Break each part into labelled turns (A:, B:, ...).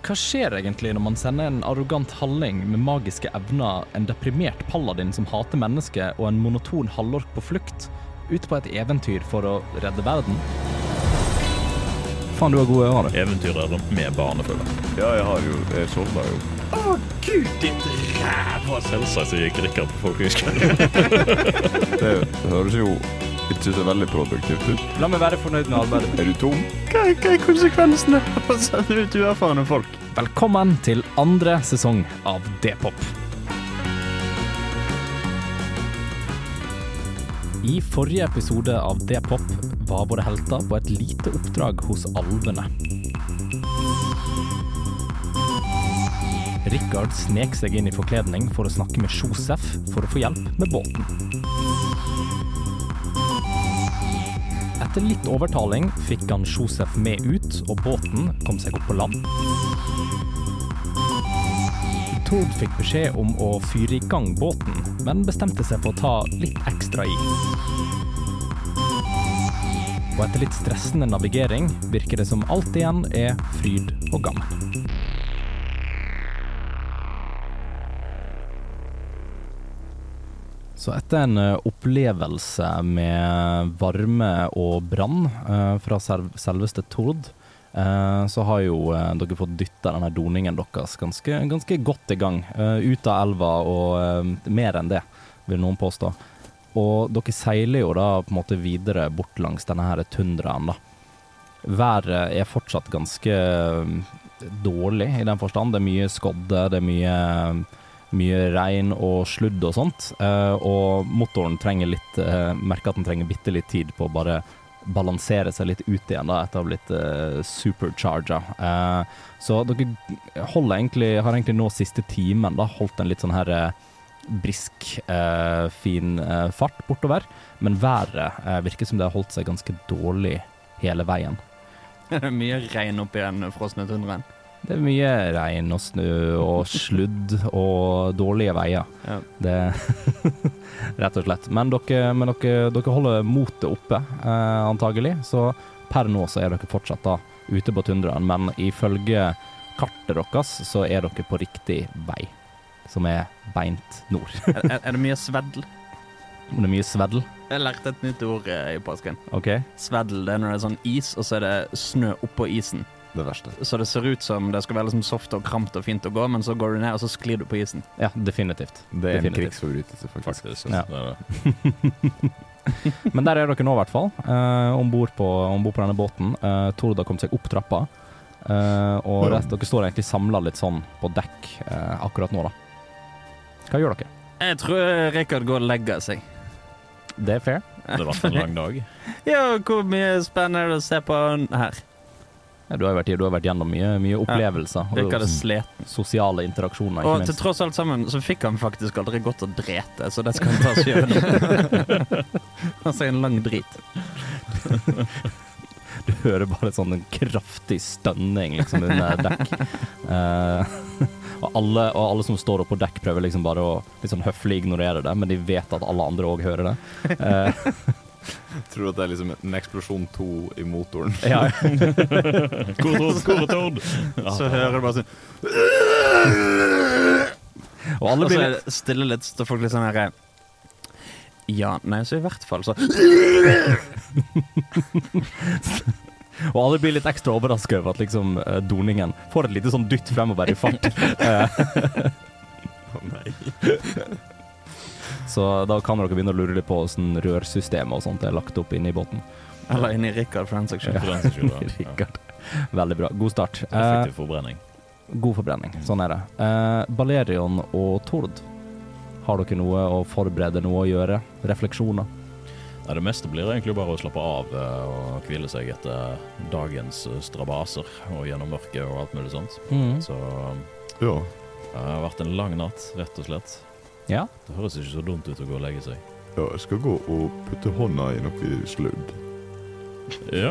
A: Hva skjer egentlig når man sender en arrogant halling med magiske evner, en deprimert paladin som hater mennesker, og en monoton halvork på flukt, ut på et eventyr for å redde verden?
B: Faen, du har gode ører, du.
C: Eventyret med barnefølge.
D: Ja, jeg har jo Jeg sovna jo.
C: Selvsagt så gikk Rikard på folkehøyskolen.
D: Det høres jo ikke så veldig produktivt ut.
B: La meg være fornøyd med arbeidet.
D: Er du tom?
E: Hva, er- hva er konsekvensene av å sende ut uerfarne folk?
A: Velkommen til andre sesong av D-pop. I forrige episode av D-pop var våre helter på et lite oppdrag hos alvene. Richard snek seg inn i forkledning for å snakke med Josef for å få hjelp med båten. Etter litt overtaling fikk han Josef med ut, og båten kom seg opp på land. Tord fikk beskjed om å fyre i gang båten, men bestemte seg for å ta litt ekstra i. Og etter litt stressende navigering virker det som alt igjen er fryd og gammen. Så etter en eh, opplevelse med varme og brann eh, fra selv- selveste Tord, eh, så har jo eh, dere fått dytta denne doningen deres ganske, ganske godt i gang. eh, ut av elva og eh, mer enn det, vil noen påstå. Og dere seiler jo da på en måte videre bort langs denne her tundraen, da. Været er fortsatt ganske mm, dårlig i den forstand. Det er mye skodde, det er mye eh, mye regn og sludd og sånt, eh, og motoren trenger litt eh, Merker at den trenger bitte litt tid på å bare balansere seg litt ut igjen da, etter å ha blitt uh, supercharga. Eh, så dere holder egentlig, har egentlig nå siste timen da, holdt en litt sånn her eh, brisk, eh, fin eh, fart bortover, men været eh, virker som det har holdt seg ganske dårlig hele veien.
E: Det er mye regn oppi den frosne tundraen.
A: Det er mye regn og snø og sludd og dårlige veier.
E: Ja.
A: Det Rett og slett. Men dere, men dere, dere holder motet oppe, eh, antagelig. Så per nå så er dere fortsatt da ute på tundraen, men ifølge kartet deres så er dere på riktig vei, som er beint nord.
E: Er, er, er det mye sveddel?
A: Det er mye sveddel.
E: Jeg lærte et nytt ord eh, i påsken.
A: OK?
E: Sveddel det er når det er sånn is, og så er det snø oppå isen.
D: Det verste.
E: Så det ser ut som det skal være liksom soft og kramt og fint å gå, men så går du ned, og så sklir du på isen.
A: Ja, definitivt.
D: Det er en
A: Definitivt.
D: krigsforbrytelse, faktisk.
C: Faktisk.
A: Ja.
C: Det er det.
A: Men der er dere nå, i hvert fall. Eh, Om bord på, ombord på denne båten. Eh, Tord har kommet seg opp trappa. Eh, og rett, dere står egentlig samla litt sånn på dekk eh, akkurat nå, da. Hva gjør dere?
E: Jeg tror Rikard går og legger seg.
A: Det er fair.
C: Det ble en lang dag.
E: Ja, hvor mye spennende er det å se på her?
A: Ja, du, har jo vært, du har vært gjennom mye, mye opplevelser og
E: Rikard er slet.
A: sosiale interaksjoner,
E: Og
A: ikke
E: til
A: minst.
E: tross alt sammen så fikk han faktisk aldri gått og drete, så det skal han ta og gjøre nå. altså en lang drit.
A: Du hører bare sånn en kraftig stønning liksom under dekk. Eh, og, alle, og alle som står oppe på dekk, prøver liksom bare å litt sånn høflig ignorere det, men de vet at alle andre òg hører det. Eh,
D: Tror du at det er liksom en eksplosjon to i motoren?
A: ja,
C: Hvor er Tord? Hvor er Tord? Ja.
E: Så hører du bare sånn
A: og alle
E: Og så
A: blir
E: er det Altså, stille litt, så folk litt sånn her Ja, nei, så i hvert fall så
A: Og alle blir litt ekstra overraska over at liksom eh, doningen får et lite sånn dytt fremover i fart. Eh. Så da kan dere begynne å lure litt på åssen rørsystemet og sånt er lagt opp inne i båten.
E: Eller inni Rikard, for den saks skyld.
C: For den som skulle være. Ja.
A: Rikard. Veldig bra. God start. Eh,
C: Effektiv forbrenning.
A: god forbrenning. Sånn er det. Eh, Balerion og Tord, har dere noe å forberede, noe å gjøre? Refleksjoner?
C: Nei, det meste blir egentlig bare å slappe av eh, og hvile seg etter dagens eh, strabaser og gjennom mørket og alt mulig sånt.
A: Mm.
C: Så eh,
D: Ja.
C: det har vært en lang natt, rett og slett.
A: Ja.
C: Det høres ikke så dumt ut å gå og legge seg.
D: ja. Jeg skal gå og putte hånda i noe sludd.
C: Ja,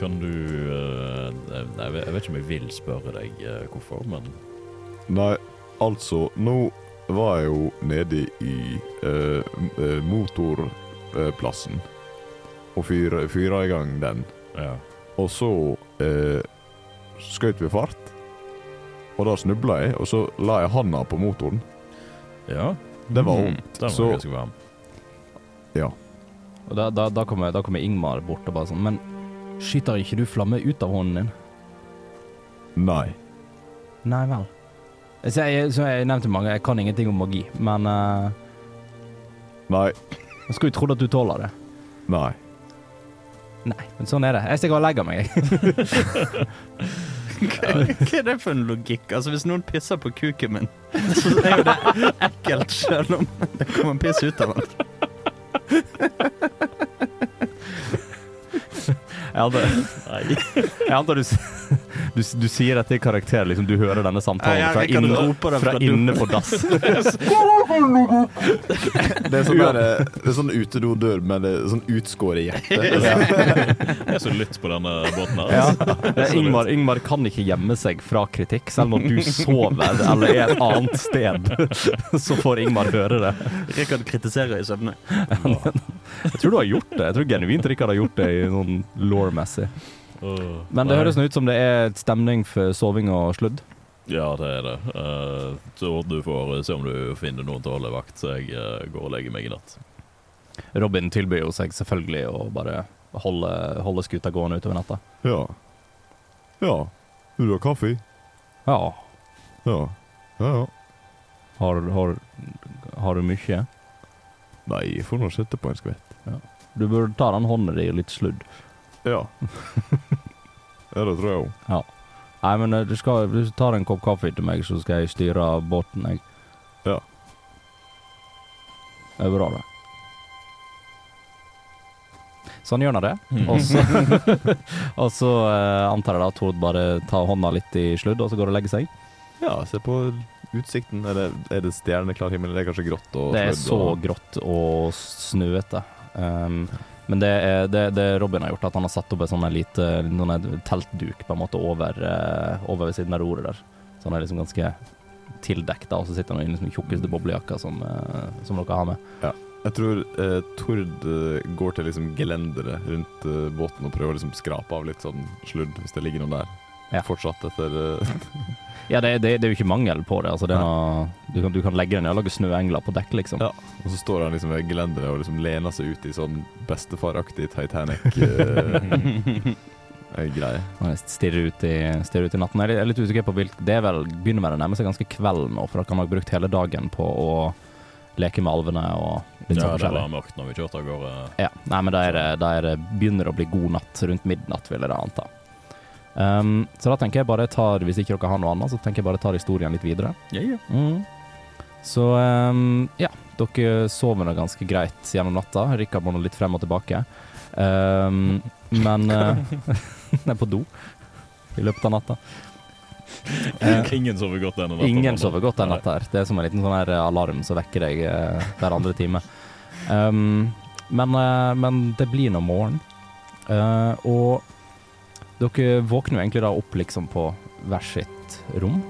C: kan du eh, Nei, jeg vet- jeg vet ikke om jeg vil spørre deg eh, hvorfor, men
D: Nei, altså, nå var jeg jo nede i eh, motorplassen og fyra, fyra i gang den.
C: ja.
D: Og så eh, skjøt vi fart, og da snubla jeg, og så la jeg handa på motoren.
C: Ja,
D: Det var
E: Mm.
D: vondt.
C: den var
D: Så-
C: ganske varm.
D: Ja.
A: Og da, da, da, kommer, da kommer Ingmar bort og bare sånn Men skyter ikke du flamme ut av hånden din?
D: Nei.
A: Nei vel. Så jeg, som jeg nevnte mange, jeg kan ingenting om magi, men eh,
D: Nei.
A: jeg skulle jo trodd at du tåler det.
D: Nei.
A: Nei, men sånn er det. Jeg stikker og legger meg, jeg.
E: Hva hva er det for en logikk? Altså, Hvis noen pisser på kuken min, så er jo det ekkelt selv om det kommer piss ut av den.
A: Jeg antar, jeg antar du, s- du, s- du sier dette i karakter, liksom. Du hører denne
E: Ja,
A: samtalen
E: ja,
A: fra,
E: jeg kan
A: inn,
E: rope det
A: fra
E: fra do.
A: inne på dass.
D: Det er sånn, der, det er sånn utedodør, men det er sånn utskåret hjerte.
C: Jeg er så lytt på denne båten her.
A: Ja. Det er Ingmar, Ingmar kan ikke gjemme seg fra kritikk, selv når du sover eller er et annet sted. Så får Ingmar høre det.
E: Rikard kritiserer i søvne.
C: altså.
A: Jeg tror du har gjort det. Jeg tror genuint Rikard har gjort det i sånn law-messig.
C: Åh,
A: Men det
C: nei.
A: høres nå ut som det er stemning for soving og sludd.
C: Ja, det er det. Eh, så du får eh, se om du finner noen til å holde vakt. Så jeg eh, går og legger meg i natt.
A: Robin tilbyr jo seg selvfølgelig å bare holde, holde skuta gående utover natta.
D: Ja. Ja. Vil du ha kaffe?
A: Ja.
D: Ja. Ja, ja.
A: Har, har, har du mye?
D: Nei, jeg får nå sette på en skvett.
A: Du burde ta den hånda di og litt sludd.
D: Ja. ja, det tror jeg òg.
A: Ja. Nei, men eh, du skal du tar en kopp kaffe til meg, så skal jeg styre båten, jeg.
D: Ja.
A: Det er bra, det. Sånn gjør nå det. Og
C: Mm.
A: så, og så eh, antar jeg da at Tord bare tar hånda litt i sludd, og så går og legger seg.
D: Ja, se på utsikten. Er det, er det stjerneklar himmel? Det er kanskje grått og
A: Det er
D: sludd
A: så
D: og-
A: grått og snøete. Um, men det, er, det, det Robin har gjort, er at han har satt opp et sånn her lite sånn her teltduk på en måte over, eh, over ved siden av roret der. Så han er liksom ganske tildekt, da, og så sitter han i liksom den tjukkeste boblejakka som, eh, som dere har med.
D: Jeg tror eh, Tord eh, går til liksom gelenderet rundt eh, båten og prøver å liksom skrape av litt sånn sludd, hvis det ligger noen der.
A: Ja.
D: Fortsatt etter eh,
A: Ja, det, det, det er jo ikke mangel på det. Altså, det er noe, du, kan, du kan legge den ned og lage snøengler på dekk, liksom.
D: Ja. Og så står han liksom ved gelenderet og liksom lener seg ut i sånn bestefaraktig eh, Titanic-greie.
A: Og jeg stirrer ut i, stirrer ut i natten. Jeg er litt usikker på hvilk Det er vel, begynner vel å nærme seg ganske kveld nå, for dere har nok brukt hele dagen på å leke med alvene og litt sånn
C: Ja, det
A: forskjellig.
C: var mørkt når vi kjørte av gårde.
A: Ja, nei, men da er det, da er det begynner å bli god natt rundt midnatt, vil jeg da anta. Um, så da tenker jeg bare jeg tar, hvis ikke dere har noe annet, så tenker jeg bare jeg tar historien litt videre.
E: Ja, ja.
A: Mm. Så um, ja, dere sover nå ganske greit gjennom natta. Rikard må nå litt frem og tilbake. Um, men uh, Nei, på do i løpet av natta. Eh,
C: Ingen sover godt denne natten.
A: Ingen
C: altså.
A: sover godt den
C: Nei.
A: natta her. Det er som en liten sånn her eh, alarm som vekker deg eh, hver andre time. Um, men, eh, men det blir nå morgen. Eh, og dere våkner jo egentlig da opp liksom på hvert sitt rom.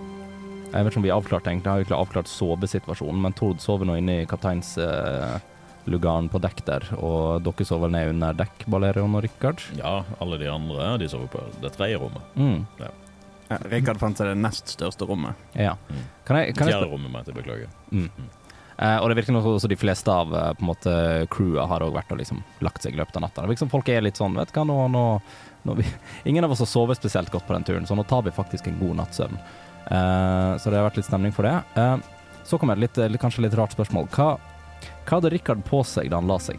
A: Jeg vet ikke om vi har avklart egentlig, jeg har jo ikke avklart sovesituasjonen, men Tord sover nå inne i kapteinslugaren på dekk der, og dere sover ned under dekk, Balerion og Rikard.
C: Ja, alle de andre de sover på det tredje rommet.
A: Mm,
E: Ja, Rikard fant seg det nest største rommet.
A: ja.
C: Mm.
A: Kan jeg, kan jeg
C: Fjerde rommet, mente jeg. Beklager.
A: Eh, og det virker nok også de fleste av eh, på en måte crewa har også vært og liksom lagt seg i løpet av natta. Det virker som folk er litt sånn, vet du hva, nå, nå, nå vi, Ingen av oss har sovet spesielt godt på den turen, så nå tar vi faktisk en god natts søvn. Eh, så det har vært litt stemning for det. Eh, så kommer et litt, eh, litt- kanskje litt rart spørsmål. Hva, hva hadde Richard på seg da han la seg?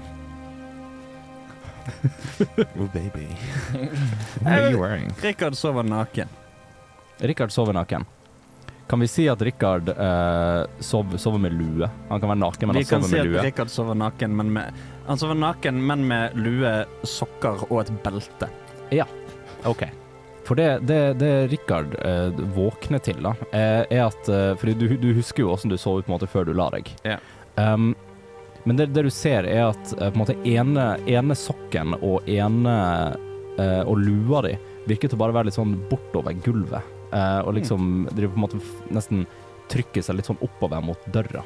D: Oh, baby.
E: Eh, Rikard sover naken.
A: Richard sover naken. Kan vi si at Richard eh, sov- sover med lue? Han kan være naken, men
E: Vi
A: han
E: kan
A: sover
E: si
A: med
E: at
A: lue.
E: Rikard sover naken, men med Han sover naken, men med lue, sokker og et belte.
A: Ok. For det, det, det Rikard eh, våkner til, da, eh, er at eh, Fordi du, du husker jo åssen du sov ut på en måte før du la deg.
E: Ja.
A: Ehm, men det, det du ser, er at eh, på en måte ene, ene sokken og ene eh, og lua di virker til å bare være litt sånn bortover gulvet. eh, og liksom driver på en måte f- nesten trykker seg litt sånn oppover mot døra.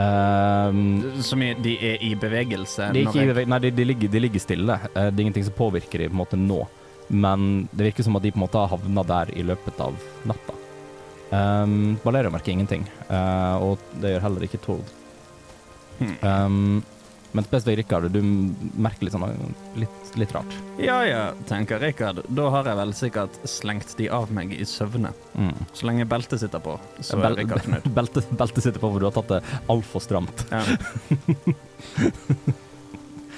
A: Ehm,
E: Som i de er i bevegelse.
A: de, er
E: når
A: ikke, i
E: jeg-
A: beveg- nei, de, de, ligger, de ligger stille. Eh, Det er ingenting som påvirker de på en måte nå. Men det virker som at de på en måte har havna der i løpet av natta. Um, Valeria merker ingenting, eh, og det gjør heller ikke Tord.
E: Hmm.
A: Um, men spesifikt Rikard, du merker litt sånn eh, litt, litt rart.
E: Ja ja, tenker Rikard. Da har jeg vel sikkert slengt de av meg i søvne.
A: Mm.
E: Så lenge beltet sitter på, Hmm. så
A: Bel-
E: er Rikard fornøyd.
A: Beltet belte sitter på, for du har tatt det altfor stramt.
E: Ja.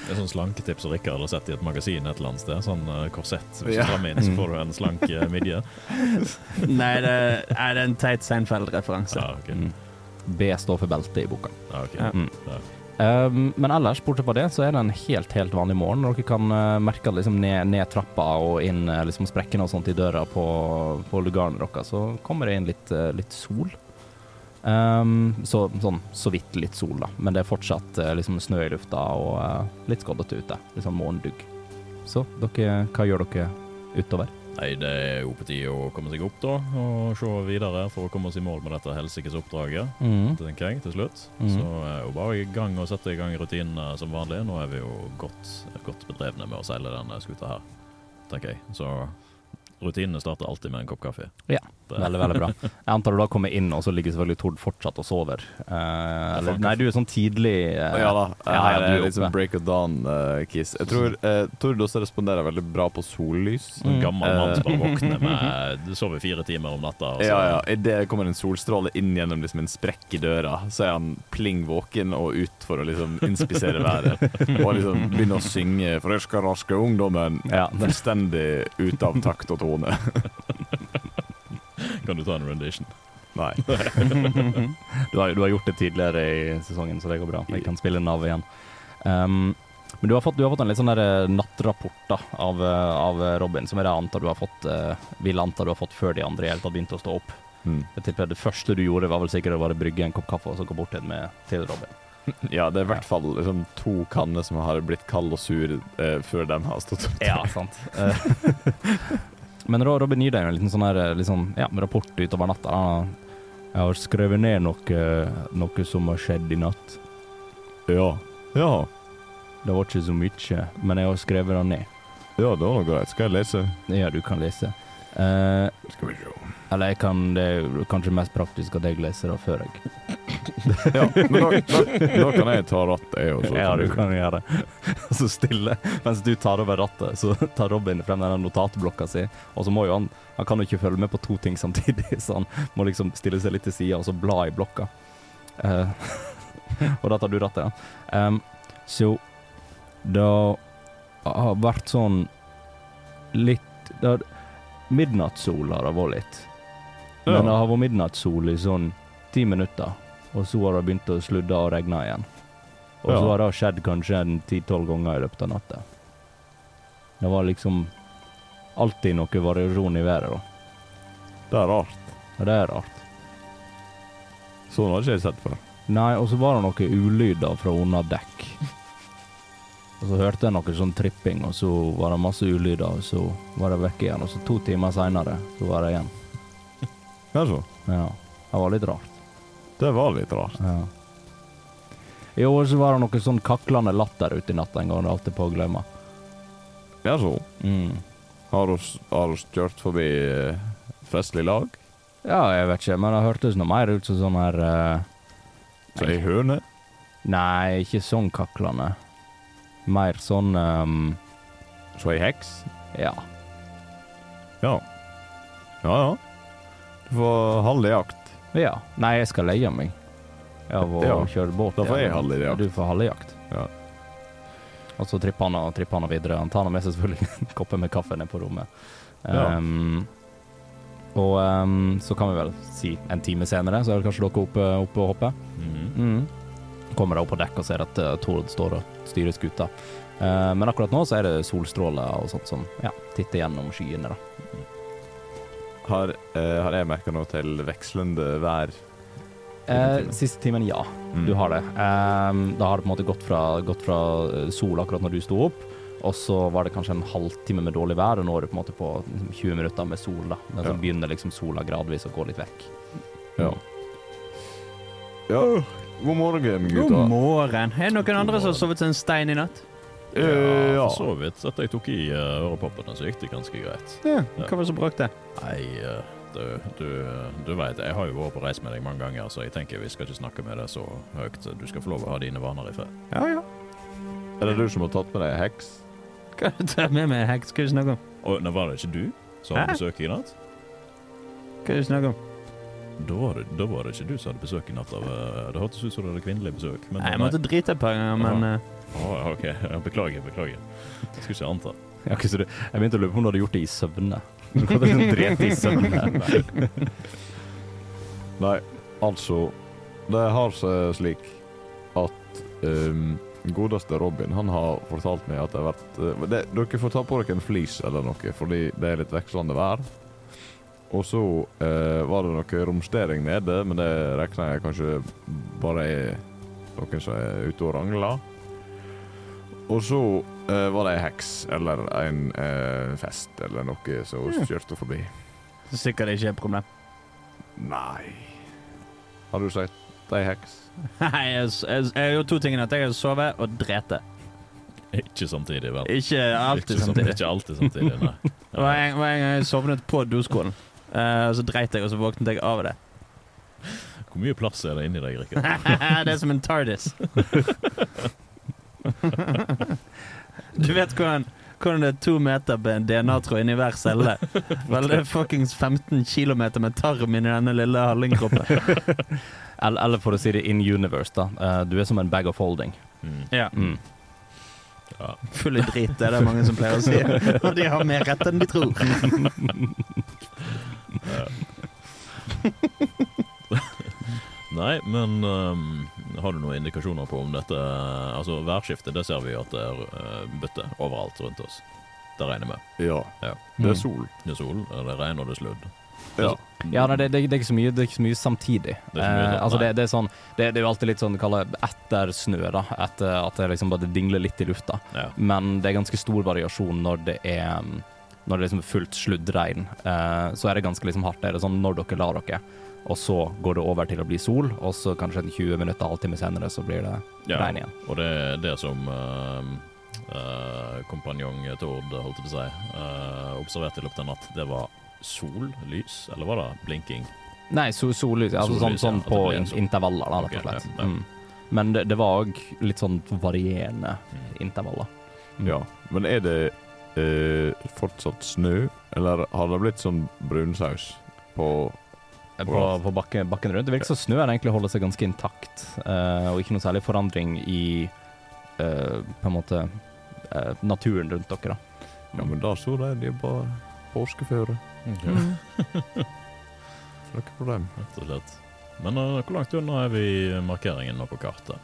C: Det er sånn slanketips som Rikard har sett i et magasin et eller annet sted. Sånn eh, korsett. Hvis
D: Ja.
C: du strammer inn, så
A: Mm.
C: får du en slank eh, midje.
E: Nei, det er det er en teit Seinfeld-referanse.
C: Ja, Ah, ok.
A: Mm. B står for belte i boka.
C: Ja, ok.
E: Ja.
A: Mm.
C: Ja.
A: Um, men ellers, bortsett fra det, så er det en helt helt vanlig morgen. Dere kan eh, merke at liksom ned, ned trappa og inn eh, liksom sprekkene og sånt i døra på, på lugaren deres, så kommer det inn litt, eh, litt sol. Um, så, sånn så vidt litt sol, da. Men det er fortsatt eh, liksom snø i lufta og eh, litt skoddete ute. Litt sånn morgendugg. Så dere, hva gjør dere utover?
C: Nei, det er jo på tide å komme seg opp, da. Og se videre for å komme oss i mål med dette helsikes oppdraget.
A: Mm.
C: tenker jeg, til slutt.
A: Mhm.
C: Så er jo bare i gang og sette i gang rutinene som vanlig. Nå er vi jo godt, godt bedrevne med å seile denne skuta her, tenker jeg. Så rutinene starter alltid med en kopp kaffe.
A: Ja,
C: Det-
A: Veldig, veldig bra. Jeg antar du da kommer inn, og så ligger selvfølgelig Tord fortsatt og sover. Eh, eller, nei, du er sånn tidlig eh,
D: Ja da.
A: ja,
D: Her
A: du
D: er
A: er
D: liksom
A: oppe.
D: break of dawn-kiss. jeg tror eh, Tord også responderer veldig bra på sollys.
A: Mm.
C: En gammel mann
D: Eh.
C: som bare våkner med eh, Du sover fire timer om natta, og så
D: Ja, ja. Idet det kommer en solstråle inn gjennom liksom en sprekk i døra, så er han pling våken og ut for å liksom inspisere været. Og liksom begynne å synge 'For jeg skal raske ungdommen'.
A: Ja, det-
D: Fullstendig ut av takt og tone.
C: kan du ta en rendition.
D: Nei.
A: Du har, du har gjort det tidligere i sesongen, så det går bra. Jeg kan spille Nav igjen. Um, men du har, fått, du har fått en litt sånn der eh, nattrapport da, av, eh, av Robin, som er det jeg antar du har fått, eh, vil anta du har fått før de andre i hele tatt begynte å stå opp.
D: Mm.
A: Jeg tipper Det første du gjorde, var vel sikkert å bare brygge en kopp kaffe og så gå bort til, den med, til Robin.
D: Ja, det er i hvert fall liksom, to kanner som har blitt kalde og sure eh, før de har stått opp.
A: Ja, sant. Eh, men Ro- Robin gir deg jo en liten sånn her, eh, litt sånn, ja, rapport utover natta. Han har- Jeg har skrevet ned noe, eh, noe som har skjedd i natt.
D: Ja. Ja.
A: Det var ikke så mye, men jeg har skrevet det ned.
D: ja, det var noe greit. Skal jeg lese?
A: Ja, du kan lese. Eh,
D: Skal vi se.
A: eller jeg kan, det er jo kanskje mest praktisk at jeg leser det før jeg.
D: Ja, men da, da, da kan jeg ta rattet, jeg også.
A: gjøre det. så stille. Mens du tar over rattet, så tar Robin frem denne notatblokka si. Og så må jo han Han kan jo ikke følge med på to ting samtidig, så han må liksom stille seg litt til sida og så bla i blokka. Eh, og da tar du rattet, ja. Em, så det har vært sånn litt det har, Midnattssol har det vært litt. Men
D: Ja.
A: det har vært midnattssol i sånn ti minutter, og så har det begynt å sludde og regne igjen. Og
D: Ja.
A: så har det skjedd kanskje en ti-tolv ganger i løpet av natta. Det var liksom alltid noe variasjon i været, da.
D: Det er rart.
A: Og det er rart.
D: Sånn har ikke jeg sett før.
A: Nei, og så var det noen ulyder fra under dekk. Og så hørte jeg noe sånn tripping, og så var det masse ulyder, og så var det vekke igjen. Og så to timer seinere, så var det igjen.
D: Kanskje.
A: Ja. Det var litt rart.
D: Det var litt rart.
A: Ja. I år så var det noe sånn kaklende latter ute i natt en gang, det er alltid på å glemme.
D: Jaså.
A: Mm.
D: Har oss, har oss kjørt forbi eh, festlig lag?
A: Ja, jeg vet ikke, men det hørtes noe mer ut som sånn her eh,
D: Så ei høne?
A: Nei, ikke sånn kaklende. Mer sånn ehm,
D: Så ei heks?
A: Ja.
D: Ja. Ja, ja. Du får halv i jakt.
A: Ja. Nei, jeg skal leie meg. Jeg har vært
D: Ja,
A: og kjørt båt.
D: da får jeg
A: igjen.
D: halve jakt.
A: Du får halve jakt.
D: Ja.
A: Og så tripper han og tripper han og videre. Han tar nå med seg selvfølgelig en koppe med kaffe ned på rommet.
D: Ja.
A: Ehm, og ehm, så kan vi vel si en time senere, så er vel kanskje dere oppe, oppe og hopper.
C: Mhm.
A: Kommer deg opp på dekk og ser at eh, Tord står og styrer skuta. Eh, men akkurat nå så er det solstråler og sånt som ja, titter gjennom skyene. da.
D: Har, eh, har jeg merka noe til vekslende vær?
A: Eh,
D: Timen.
A: siste timen, ja. Du har det. Eh, da har det på en måte gått fra, gått fra eh, sol akkurat når du sto opp, og så var det kanskje en halvtime med dårlig vær, og nå er du på en måte på liksom, 20 minutter med sol. da. Men så
D: Ja.
A: begynner liksom sola gradvis å gå litt vekk. Mm.
D: Ja. ja. God morgen, gutta.
E: God morgen. Er det noen andre som har sovet som en stein i natt?
D: Eh,
C: Ja,
D: ja.
C: for så vidt. Etter jeg tok i eh, øreproppene, så gikk det ganske greit.
E: Ja, Hva var det som brakk det?
C: Nei, eh, Du, du, du vet, jeg har jo vært på reis med deg mange ganger, så jeg tenker vi skal ikke snakke med deg så høyt. Du skal få lov å ha dine vaner i fred.
D: Ja, ja. Er det du som har tatt med deg heks?
E: Hva har du tatt med meg, Heks? Hva er det du snakker om?
C: Og nå var det ikke du som
E: Hæ?
C: hadde besøk i natt?
E: Hva er det du snakker om?
C: Da var, det, da var det ikke du som hadde besøk i natt. av eh, Det hørtes ut som du hadde kvinnelig besøk. Men
E: Nei, jeg måtte drite et par ganger, men eh,
C: Å, OK. Ja, Beklager, beklager. Jeg skulle ikke anta.
A: Ja, ok, så du, jeg begynte å lure på om du hadde gjort det i søvne. liksom
D: Du kan ikke drete i søvnen. Nei, altså Det har seg slik at ehm, godeste Robin han har fortalt meg at det har vært eh, det, Dere får ta på dere en flis eller noe, fordi det er litt vekslende vær. Og så eh, var det noe romstering nede, men det regner jeg kanskje bare er noen som er ute og rangler. Og så eh, var det ei heks eller en eh, fest eller noe som kjørte forbi.
E: så sikkert det ikke er et problem.
D: Nei Har du sagt ei heks?
E: Nei, jeg, jeg, jeg har gjort to tingene. At jeg har sovet og drete.
C: Ikke samtidig, vel?
E: Ikke alltid
C: Ikke sam-
E: samtidig.
C: Ikke alltid samtidig, nei.
E: Det var en, var en gang jeg sovnet på doskålen. Eh, så dreit jeg, og så våknet jeg av det.
C: Hvor mye plass er det inni deg, Rikke?
E: det er som en tardis. du vet hvordan, hvordan det er to meter med en DNA-tråd inni hver celle? Vel, det er fuckings 15 kilometer med tarm inni denne lille hallingkroppen.
A: Eller, eller for å si det in universe, da. Eh, du er som en bag of holding.
C: Mm.
E: Ja.
A: Mm.
C: Ja.
E: Full i drit, det er det mange som pleier å si. Og de har mer rett enn de tror.
C: Nei, men ehm, har du noen indikasjoner på om dette Altså, værskiftet, det ser vi jo at det er eh, bytte overalt rundt oss. Det regner med.
D: Ja.
C: Ja.
D: Det er sol.
C: Det er sol, det regner og det er sludd.
D: Mm. Ja.
A: Ja, nei, det, det, det, er ikke så mye, det er ikke så mye samtidig.
C: Det er ikke mye
A: eh,
C: sånn,
A: altså det,
C: nei.
A: det, er sånn, det, det er jo alltid litt sånn kaller jeg, etter snø, da. Etter at det liksom bare dingler litt i lufta.
C: Mm. Ja.
A: Men det er ganske stor variasjon når det er mm, Når det liksom er fullt sluddregn. Eh, så er det ganske liksom hardt. Det er sånn når dere lar dere, og så går det over til å bli sol, og så kanskje en 20 minutter, halvtime senere, så blir det
C: Ja.
A: regn igjen.
C: Og det er det som ehm, eh, kompanjong Tord, holdt jeg på å si, eh, observerte i løpet av natt. Det var sol, lys, eller var det blinking?
A: Nei, so sollys. Altså
C: Sollys,
A: sånn, sånn
C: ja, at det
A: på
C: blir
A: in
C: sol.
A: intervaller, da, rett
C: Ok,
A: og slett.
C: ja, ja.
A: Mm. Men det, det var òg litt sånn varierende intervaller. Mm.
D: ja. Men er det eh, fortsatt snø, eller har det blitt sånn brunsaus på
A: På, på bakken, bakken rundt. Det virker som snøen egentlig holder seg ganske intakt, eh, og ikke noe særlig forandring i eh, på en måte eh, naturen rundt dere. da.
D: Ja, men da så de de er bare påskeføre.
A: Mm.
D: Så det er ikke problem.
C: Rett og slett. Men eh, hvor langt unna er vi markeringen nå på kartet?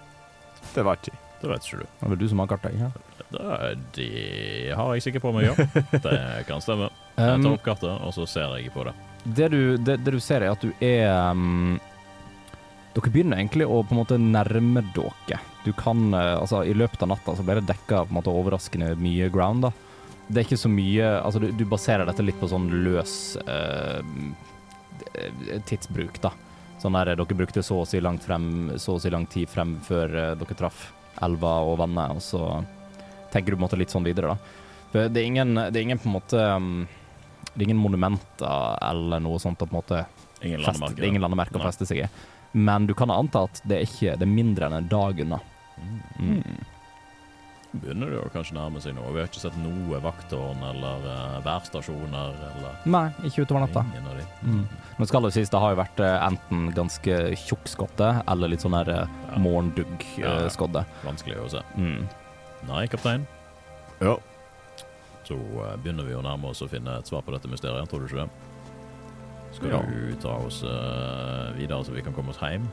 D: Det vet jeg.
C: Det vet ikke du.
A: Det er vel du som har kartet? ikke
C: Det, det har jeg sikkert på meg, ja. Det kan stemme. Jeg
A: Um,
C: tar opp kartet, og så ser jeg på det.
A: det, du, det, det du ser, er at du er um, Dere begynner egentlig å på en måte nærme dere. Du kan, eh, altså I løpet av natta så ble det dekka på en måte overraskende mye ground. da. Det er ikke så mye altså Du, du baserer dette litt på sånn løs eh, tidsbruk, da. Sånn der eh, dere brukte så å si langt frem, så å si lang tid frem før eh, dere traff elva og vannet, og så tenker du på en måte litt sånn videre, da. For Det er ingen, det er ingen på en måte um, det er ingen monumenter eller noe sånt å på en måte
C: Ingen
A: feste,
C: landemerker.
A: det er ingen landemerker å
C: Nei.
A: feste seg i. Men du kan anta at det er, ikke, det er mindre enn en dag unna.
C: Mm,
A: Mm.
C: Begynner det å kanskje nærme seg nå. Vi har ikke sett noe vakttårn eller eh, værstasjoner eller
A: Nei, ikke utover natta.
C: ingen av de.
A: Mm. Nå skal det sies, det har jo vært eh, enten ganske tjukk skodde eller litt sånn der
C: Ja. Ja, ja.
A: morgendugg-skodde.
C: Vanskelig å se.
A: eh, Mm.
C: Nei, kaptein.
D: Ja.
C: Så eh, begynner vi å nærme oss å finne et svar på dette mysteriet, tror du ikke det? Skal
D: Ja.
C: du ta oss eh, videre så vi kan komme oss hjem?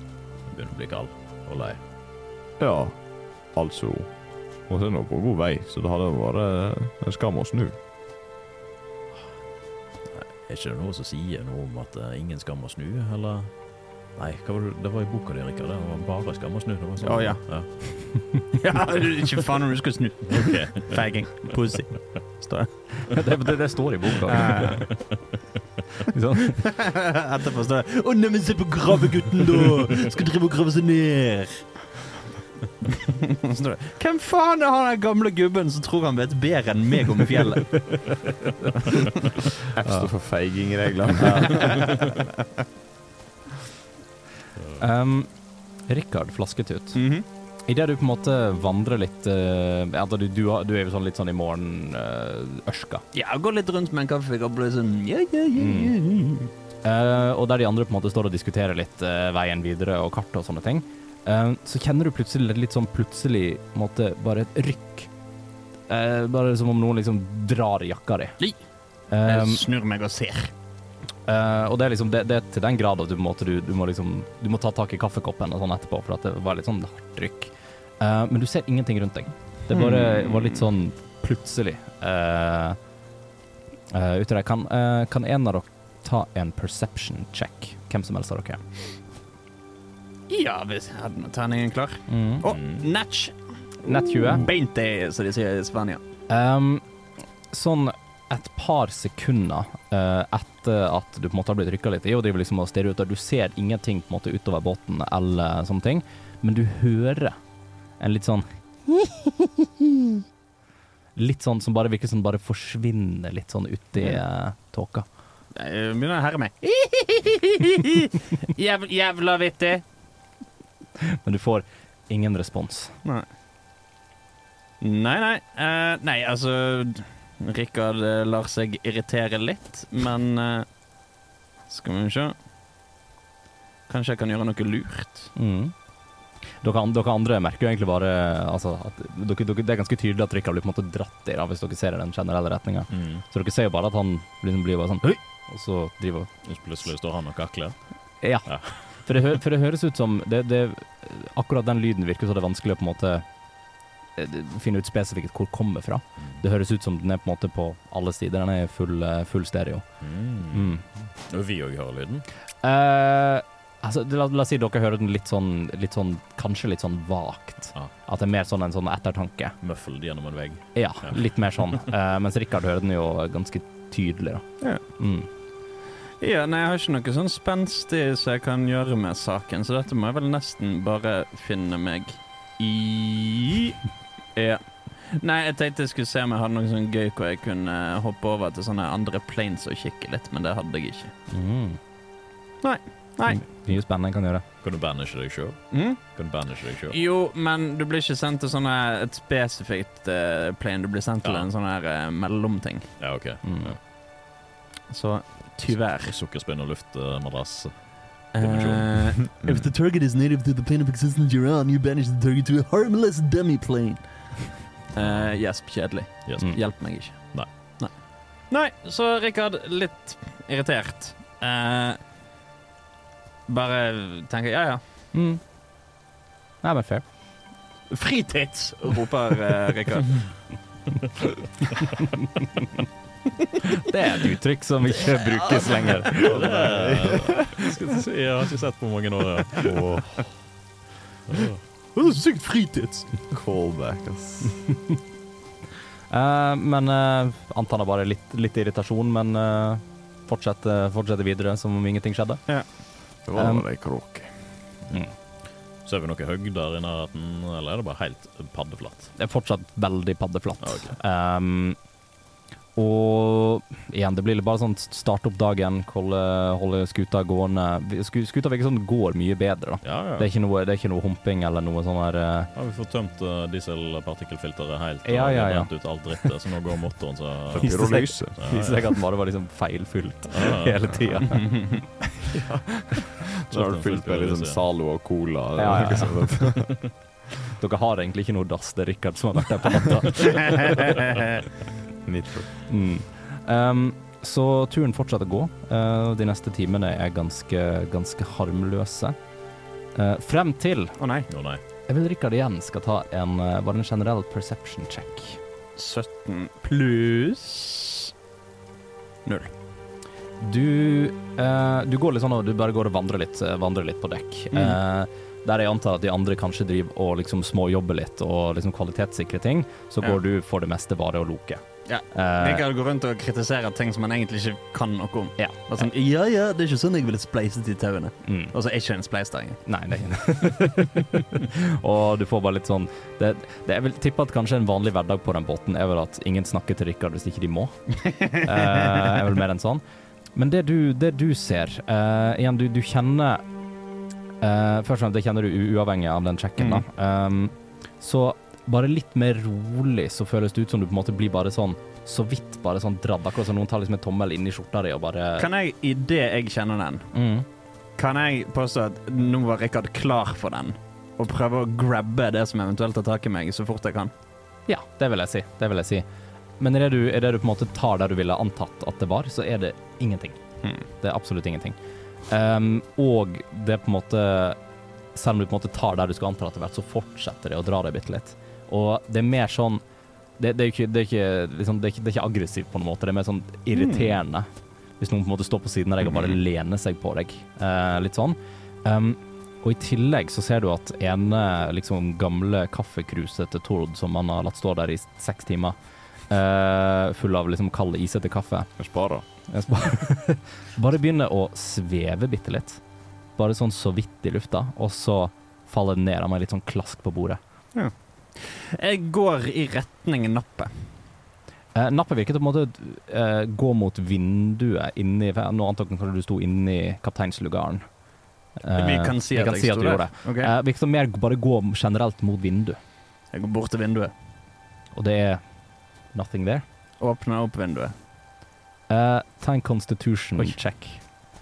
C: Jeg begynner å bli kald og lei.
D: ja. Altså Hun er nå på god vei, så det hadde vært en skam å snu.
C: Er ikke det noe som sier noe om at eh, ingen skam å snu, eller? Nei, hva var det? det var i boka di, Rikard. Det var bare skam å snu. Det var sånn.
E: Å, ja. Ja, ikke faen om du skal snu.
C: Ok.
E: Fagging. Pussy. Står det.
A: det, det, det står i boka. Sånn.
E: Etterpå står det Å, neimen, se på gravegutten, da! Skal drive og grave seg ned. Så står det, Hvem faen er han der gamle gubben som tror han vet bedre enn meg om fjellet?
D: F står for feigingreglene.
A: Um, Rikard Flasketut.
E: Mhm.
A: Idet du på en måte vandrer litt eh, altså du, du, har- du er jo sånn litt sånn i eh, morgenørska.
E: Ja, gå litt rundt med en kaffekopp og bli sånn ja, ja, ja, ja, ja.
A: Eh, og der de andre på en måte står og diskuterer litt eh, veien videre og kart og sånne ting, eh, så kjenner du plutselig litt sånn plutselig på en måte, bare et rykk. Eh, bare som om noen liksom drar i jakka di.
E: Li.
A: Eh,
E: Jeg snur meg og ser.
A: eh, og det er liksom det, det er til den grad at du, på en måte, du, du må liksom Du må ta tak i kaffekoppen og sånn etterpå, for at det var litt sånn hardt rykk. Eh, men du ser ingenting rundt deg. Det bare var litt sånn plutselig. Uh, Uti der. Kan, eh, kan en av dere ta en perception check? Hvem som helst av dere.
E: Ja, hvis jeg hadde noe terningen klar.
A: Mm.
E: Å, natch.
A: Nett 20.
E: Beint det, som de sier i Spania.
A: Ehm, sånn et par sekunder eh, etter at du på en måte har blitt rykka litt i og driver liksom og stirrer ut, og du ser ingenting på en måte utover båten eller sånne ting, men du hører en litt sånn Litt sånn som bare virker som bare forsvinner litt sånn uti uh, tåka.
E: Jeg begynner å herre meg. Jæv, jævla vittig.
A: Men du får ingen respons.
E: Nei. Nei, nei. eh, nei, altså Rikard eh, lar seg irritere litt, men eh, Skal vi se Kanskje jeg kan gjøre noe lurt?
A: Mm. Dere, an- dere andre merker jo egentlig bare altså, at dere, dere, Det er ganske tydelig at Rikard blir på en måte dratt i, da, hvis dere ser i den generelle retninga.
C: Mm.
A: Så dere ser jo bare at han liksom blir bare sånn Høy! Og så driver
C: Plutselig står han og kakler.
A: Ja.
C: Ja.
A: For, det hø for det høres ut som det, det, Akkurat den lyden virker så det er vanskelig å på en måte eh, d- finne ut spesifikt hvor den kommer fra. Det høres ut som den er på en måte på alle sider. Den er i full, eh, full stereo.
C: Mm.
A: Mm.
C: Og vi òg hører lyden.
A: Eh, altså, la, la oss si dere hører den litt sånn, litt sånn Kanskje litt sånn vagt.
C: Ja.
A: At det er mer sånn en sånn ettertanke.
C: Muffled gjennom en vegg.
A: Ja,
C: Ja.
A: litt mer sånn. Eh, mens Rikard hører den jo ganske tydelig, da.
E: Ja.
A: Mm.
E: Ja, nei, Jeg har ikke noe sånn spenstig som jeg kan gjøre med saken, så dette må jeg vel nesten bare finne meg i Ja. Nei, jeg tenkte jeg skulle se om jeg hadde noe sånn gøy hvor jeg kunne hoppe over til sånne andre planes og kikke litt, men det hadde jeg ikke.
A: Mm.
E: Nei. Nei.
A: Mye spennende en kan gjøre.
C: Kan du banishe deg sjøl?
E: Mm?
C: Kan du banishe deg sjøl?
E: Jo, men du blir ikke sendt til sånne, et spesifikt eh, plane. Du blir sendt til
C: Ja.
E: en sånn her eh, mellomting.
C: Ja, OK.
A: Mm.
C: Ja.
E: Så tyvärr.
C: Sukkerspinn og luftmadrass.
E: Eh,
F: If the target is native to the plane of existence you're on, you banish the target to a harmless dummy plane.
E: eh, Gjesp kjedelig.
C: Yes.
A: Mm.
E: Hjelp meg ikke.
C: Nei.
E: Nei, Nei, så Rikard, litt irritert. Eh, bare tenker ja, ja.
A: Mm. Nei, men fair.
E: Fritids! roper eh, Rikard.
A: Det er et uttrykk som ikke brukes lenger.
C: Det er- Skal vi si, Jeg har ikke sett på mange år. ja.
F: Oh, sykt fritids!
D: Callback, ass.
A: Eh, men eh, antar det bare er litt, litt irritasjon, men eh, fortsette, fortsette videre som om ingenting skjedde.
D: Det var
A: Um,
D: bare ei kråke.
C: Ser vi noe høgg der i nærheten, eller er det bare helt paddeflatt?
A: Det er fortsatt veldig paddeflatt.
C: Ja, ok.
A: Ehm, og igjen, det blir bare sånn starte opp dagen, holde, holde skuta gående. Vi- sku- Skuta virker som den går mye bedre, da.
C: Ja, ja.
A: Det er ikke noe, det er ikke noe humping eller noe sånn her eh,
C: Har vi fått tømt eh, dieselpartikkelfilteret helt? og
A: Ja, ja,
C: har
A: ja.
C: brent ut all drittet, så nå går motoren så
A: Viste seg-
D: Pyrolyse.
A: Viser seg at den bare var liksom feilfylt
C: Ja, ja.
A: hele tida.
D: Så har du fylt med litt sånn Zalo og Cola. Liksom eller
A: Ja, ja,
D: noe sånt.
A: Dere har egentlig ikke noe dass, det er Rikard som har vært der på natta.
D: Nitro.
A: Mm. Ehm, så turen fortsetter å gå. eh, og de neste timene er ganske, ganske harmløse. Eh, frem til
E: Å nei.
C: Å nei.
A: Jeg vil Rikard igjen skal ta en eh, bare en generell perception check.
E: 17 pluss
A: Du, eh, du går litt sånn og du bare går og vandrer litt, eh, vandrer litt på dekk.
E: Mm.
A: Eh, der jeg antar at de andre kanskje driver og liksom småjobber litt og liksom kvalitetssikrer ting, så
E: Ja.
A: går du for det meste bare og loker.
E: Ja,
A: Eh,
E: Rikard går rundt og kritiserer ting som han egentlig ikke kan noe om.
A: Ja.
E: Og sånn, ja, ja, det er ikke sånn jeg ville spleiset de tauene.
A: mm.
E: Og så er ikke en spleis der engang.
A: Nei, det er ikke det. og du får bare litt sånn det, det, Jeg vil tippe at kanskje en vanlig hverdag på den båten er vel at ingen snakker til Rikard hvis ikke de må. Eh, er vel mer enn sånn. Men det du, det du ser eh, Igjen, du, du kjenner eh, Først og fremst, det kjenner du u- uavhengig av den sjekken, da. Um, så bare litt mer rolig så føles det ut som du på en måte blir bare sånn så vidt bare sånn dradd, akkurat som noen tar liksom en tommel inn i skjorta di og bare
E: Kan jeg, idet jeg kjenner den,
A: mm.
E: kan jeg påstå at nå var Rikard klar for den? Og prøve å grabbe det som eventuelt tar tak i meg, så fort jeg kan?
A: Ja, det vil jeg si. Det vil jeg si. Men i det du, i det du på en måte tar der du ville antatt at det var, så er det ingenting.
E: Hmm.
A: Det er absolutt ingenting. Ehm, og det er på en måte Selv om du på en måte tar der du skal anta at det har vært, så fortsetter det å dra deg bitte litt. Og det er mer sånn Det, det, er, ikke, det, er, ikke, liksom, det, er, ikke, det er ikke aggressivt på noen måte, det er mer sånn irriterende. Hvis noen på en måte står på siden av deg og bare lener seg på deg. Eh, litt sånn. Ehm, og i tillegg så ser du at ene liksom, gamle kaffekruset til Tord, som han har latt stå der i seks timer, eh, full av liksom kald, isete kaffe,
D: Jeg sparer.
A: jeg skal bare- Bare begynner å sveve bitte litt. Bare sånn så vidt i lufta, og så faller den ned av meg litt sånn klask på bordet.
E: Jeg går i retning nappet.
A: Eh, nappet virket å på en måte eh, gå mot vinduet inni for Nå antok jeg kanskje du sto inni kapteinslugaren. Eh,
E: Vi kan si
A: vi
E: at jeg sto
A: du
E: der.
A: gjorde det.
E: Ok?
A: Eh, virket som mer bare gå generelt mot vindu,
E: Jeg går bort til vinduet.
A: og det er nothing there.
E: Åpner opp vinduet.
A: Eh, ta en constitution check.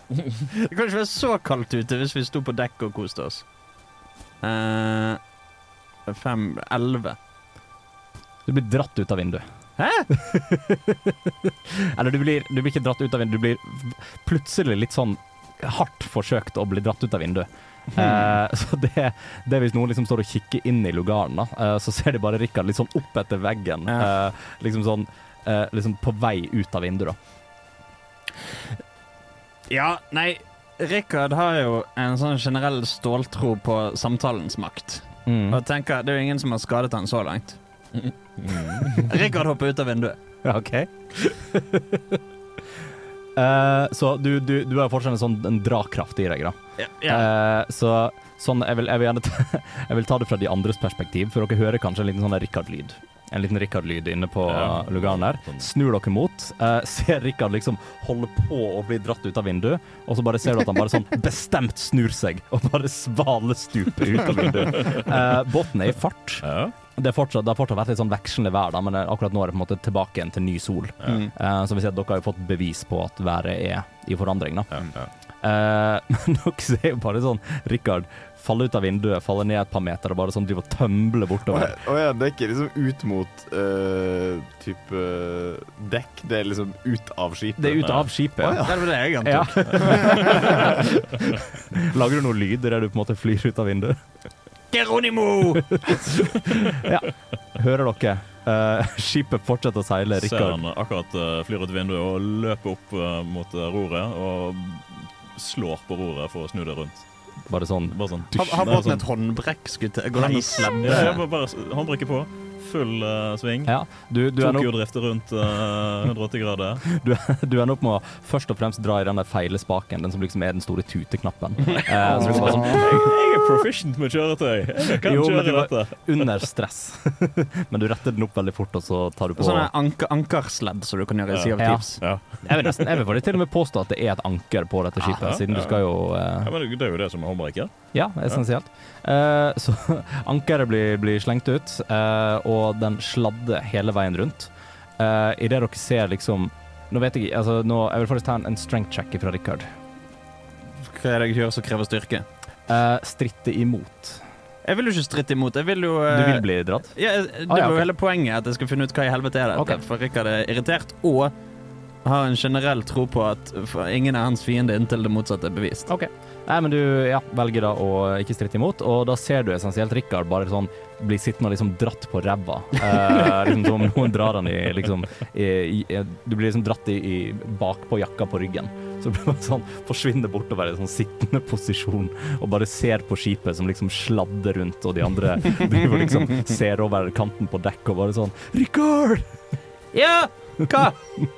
E: Det kan ikke være så kaldt ute hvis vi sto på dekk og koste oss. Eh, fem Elleve.
A: Du blir dratt ut av vinduet.
E: Hæ?
A: Eller du blir, du blir ikke dratt ut av vinduet, du blir plutselig litt sånn hardt forsøkt å bli dratt ut av vinduet. Eh, så det, det er hvis noen liksom står og kikker inn i lugaren, da, eh, så ser de bare Rikard litt sånn opp etter veggen.
E: Ja.
A: eh, liksom sånn eh, liksom på vei ut av vinduet, da.
E: Ja, nei Rikard har jo en sånn generell ståltro på samtalens makt. Og tenker det er jo ingen som har skadet han så langt. Rikard hopper ut av vinduet.
A: Ja, OK. Eh, så du, du, du har fortsatt en sånn en drakraft i deg, da.
E: Ja,
A: Eh, så sånn, jeg vil, jeg, vil gjerne ta, jeg vil ta det fra de andres perspektiv, for dere hører kanskje en liten sånn der Rikard-lyd. En liten Rikard-lyd inne på
C: Ja.
A: eh, lugaren der.
C: Sånn.
A: Snur dere mot, eh, ser Rikard liksom holde på å bli dratt ut av vinduet, og så bare ser du at han bare sånn bestemt snur seg og bare svalestuper ut av vinduet. Eh, båten er i fart.
C: Ja,
A: Det, er fortsatt, det har fortsatt vært litt sånn vekslende vær, da, men eh, akkurat nå er det på en måte tilbake igjen til ny sol.
E: Mm.
A: Eh, så vi ser at dere har jo fått bevis på at været er i forandring, da.
C: ja, ja.
A: Eh, Men dere ser jo bare sånn Rikard faller ut av vinduet, faller ned et par meter og bare sånn driver og tømbler
D: Å
A: bortover.
D: ja, ja, det er ikke liksom ut mot eh, type eh, dekk. Det er liksom ut av skipet.
A: Det er ut av skipet.
D: Å,
E: Det var det jeg antok.
A: Ja. Lager du noe lyd der du på en måte flyr ut av vinduet?
E: Geronimo!
A: Hører dere? Eh, skipet fortsetter å seile.
C: Ser
A: Rikard
C: han akkurat eh, flyr ut vinduet og løper opp eh, mot eh, roret og slår på roret for å snu det rundt.
A: bare sånn
C: Bare sånn
E: Har, har båten et håndbrekk? Skulle jeg- Går det an å
C: Ja, jeg
E: sladde?
C: bare, bare s- håndbrekket på. Full eh, sving.
A: Ja, du, du, er nok,
C: Tokyo-drifter rundt eh, 180 grader.
A: du er nok med å først og fremst dra i den der feile spaken, den som liksom er den store tuteknappen. Eh, så du kan bare sånn
C: Jeg er proficient med kjøretøy. Jeg kan
A: Jo, men
C: kjøre
A: du var-
C: dette.
A: sånn under stress. Men du retter den opp veldig fort, og så tar du på
E: Sånn anker, ankersledd som du kan gjøre i Sea of
A: Ja.
E: Thieves.
C: Ja.
A: Jeg vil nesten jeg vil faktisk til og med påstå at det er et anker på dette skipet,
C: Ja,
A: siden
C: ja.
A: du skal jo eh,
C: ja, men Det er jo det som er håndbrekket.
A: Ja, essensielt. Eh, så ankeret blir, blir slengt ut, eh, og den sladder hele veien rundt. Uh, Idet dere ser liksom Nå vet jeg ikke altså, nå, Jeg vil faktisk ta en, en strength check fra Richard.
E: Hva er det jeg gjør som krever styrke?
A: Eh, stritte imot.
E: Jeg vil jo ikke stritte imot. Jeg vil jo
A: Du
E: eh,
A: vil bli dratt?
E: Ja, det
A: Ah, ja,
E: var jo
A: ok.
E: hele poenget at jeg skal finne ut hva i helvete er dette.
A: Ok.
E: For Rikard er irritert og har en generell tro på at for ingen er hans fiende inntil det motsatte er bevist.
A: OK. Nei, men du ja, velger da å ikke stritte imot, og da ser du essensielt Richard bare sånn bli sittende og liksom dratt på ræva. Eh, liksom som om noen drar han i liksom i, i, Du blir liksom dratt i, i bakpå jakka på ryggen. Så blir man sånn forsvinner bortover i en sånn sittende posisjon og bare ser på skipet som liksom sladder rundt, og de andre driver og liksom ser over kanten på dekk og bare sånn Richard!
E: Ja! Hva?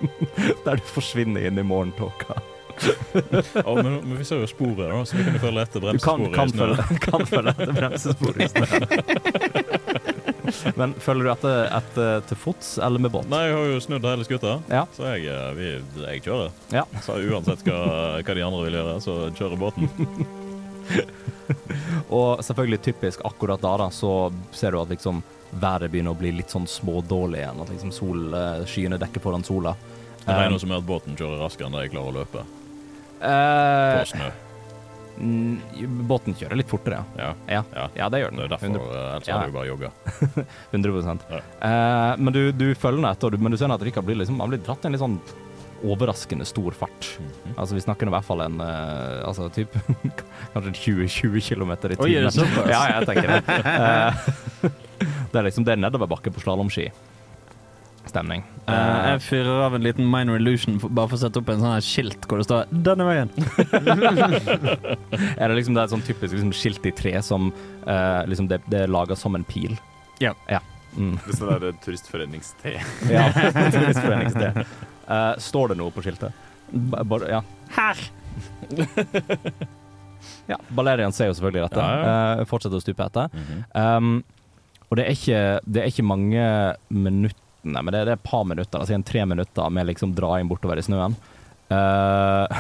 A: Der du forsvinner inn i morgentåka.
C: Å, men, men vi ser jo sporet, da, så vi kan jo følge etter
A: Du kan,
C: bremsesporet.
A: kan, følge, kan
C: i snøen.
A: følge etter bremsesporet i snøen. Men følger du etter, etter til fots eller med båt?
C: Nei, jeg har jo snudd hele skuta,
A: Ja.
C: så jeg, eh, vi, jeg kjører.
A: Ja.
C: Så uansett hva, hva de andre vil gjøre, så kjører båten.
A: Og selvfølgelig typisk akkurat da, da, så ser du at liksom været begynner å bli litt sånn smådårlig igjen. At liksom sol, eh, skyene dekker foran sola.
C: Det regner også med at båten kjører raskere enn det jeg klarer å løpe på
A: Eh,
C: snø.
A: mm, båten kjører litt fortere, ja.
C: Ja,
A: Ja,
C: Ja.
A: ja det gjør
C: det
A: den.
C: er derfor,
A: 100,
C: eh, ellers
A: Ja.
C: hadde jeg jo bare jogga.
A: 100%. Eh, Men du, du følger den etter, og du- men du ser at Rikard blir, liksom, han blir dratt i en litt sånn overraskende stor fart.
E: Mhm.
A: Altså, vi snakker i hvert fall en eh, altså, typ, kanskje 20-20 km i timen.
E: Oi, er det såpass?
A: Ja, jeg tenker det. Eh, det er liksom det er nedoverbakke på slalåmski. Stemning.
E: Eh,
A: Eh,
E: jeg fyrer av en liten minor illusion for, bare for å sette opp en sånn her skilt hvor det står 'Denne veien'.
A: er det liksom det er et sånn typisk liksom, skilt i tre som eh, liksom det, det er laga som en pil?
E: Ja.
A: Mm.
G: Det
D: sånn
G: står der eh, turistforeningste.
A: ja. Turistforeningssted. Eh, står det noe på skiltet? Ba- bare- ja.
E: Her!
A: ja. Balerian ser jo selvfølgelig dette.
C: Ja,
A: Eh, fortsetter å stupe etter.
C: Mhm.
A: Um, og det er, ikke, det er ikke mange minuttene, men det er det er et par minutter, altså igjen tre minutter med liksom dra inn bortover i snøen. Eh,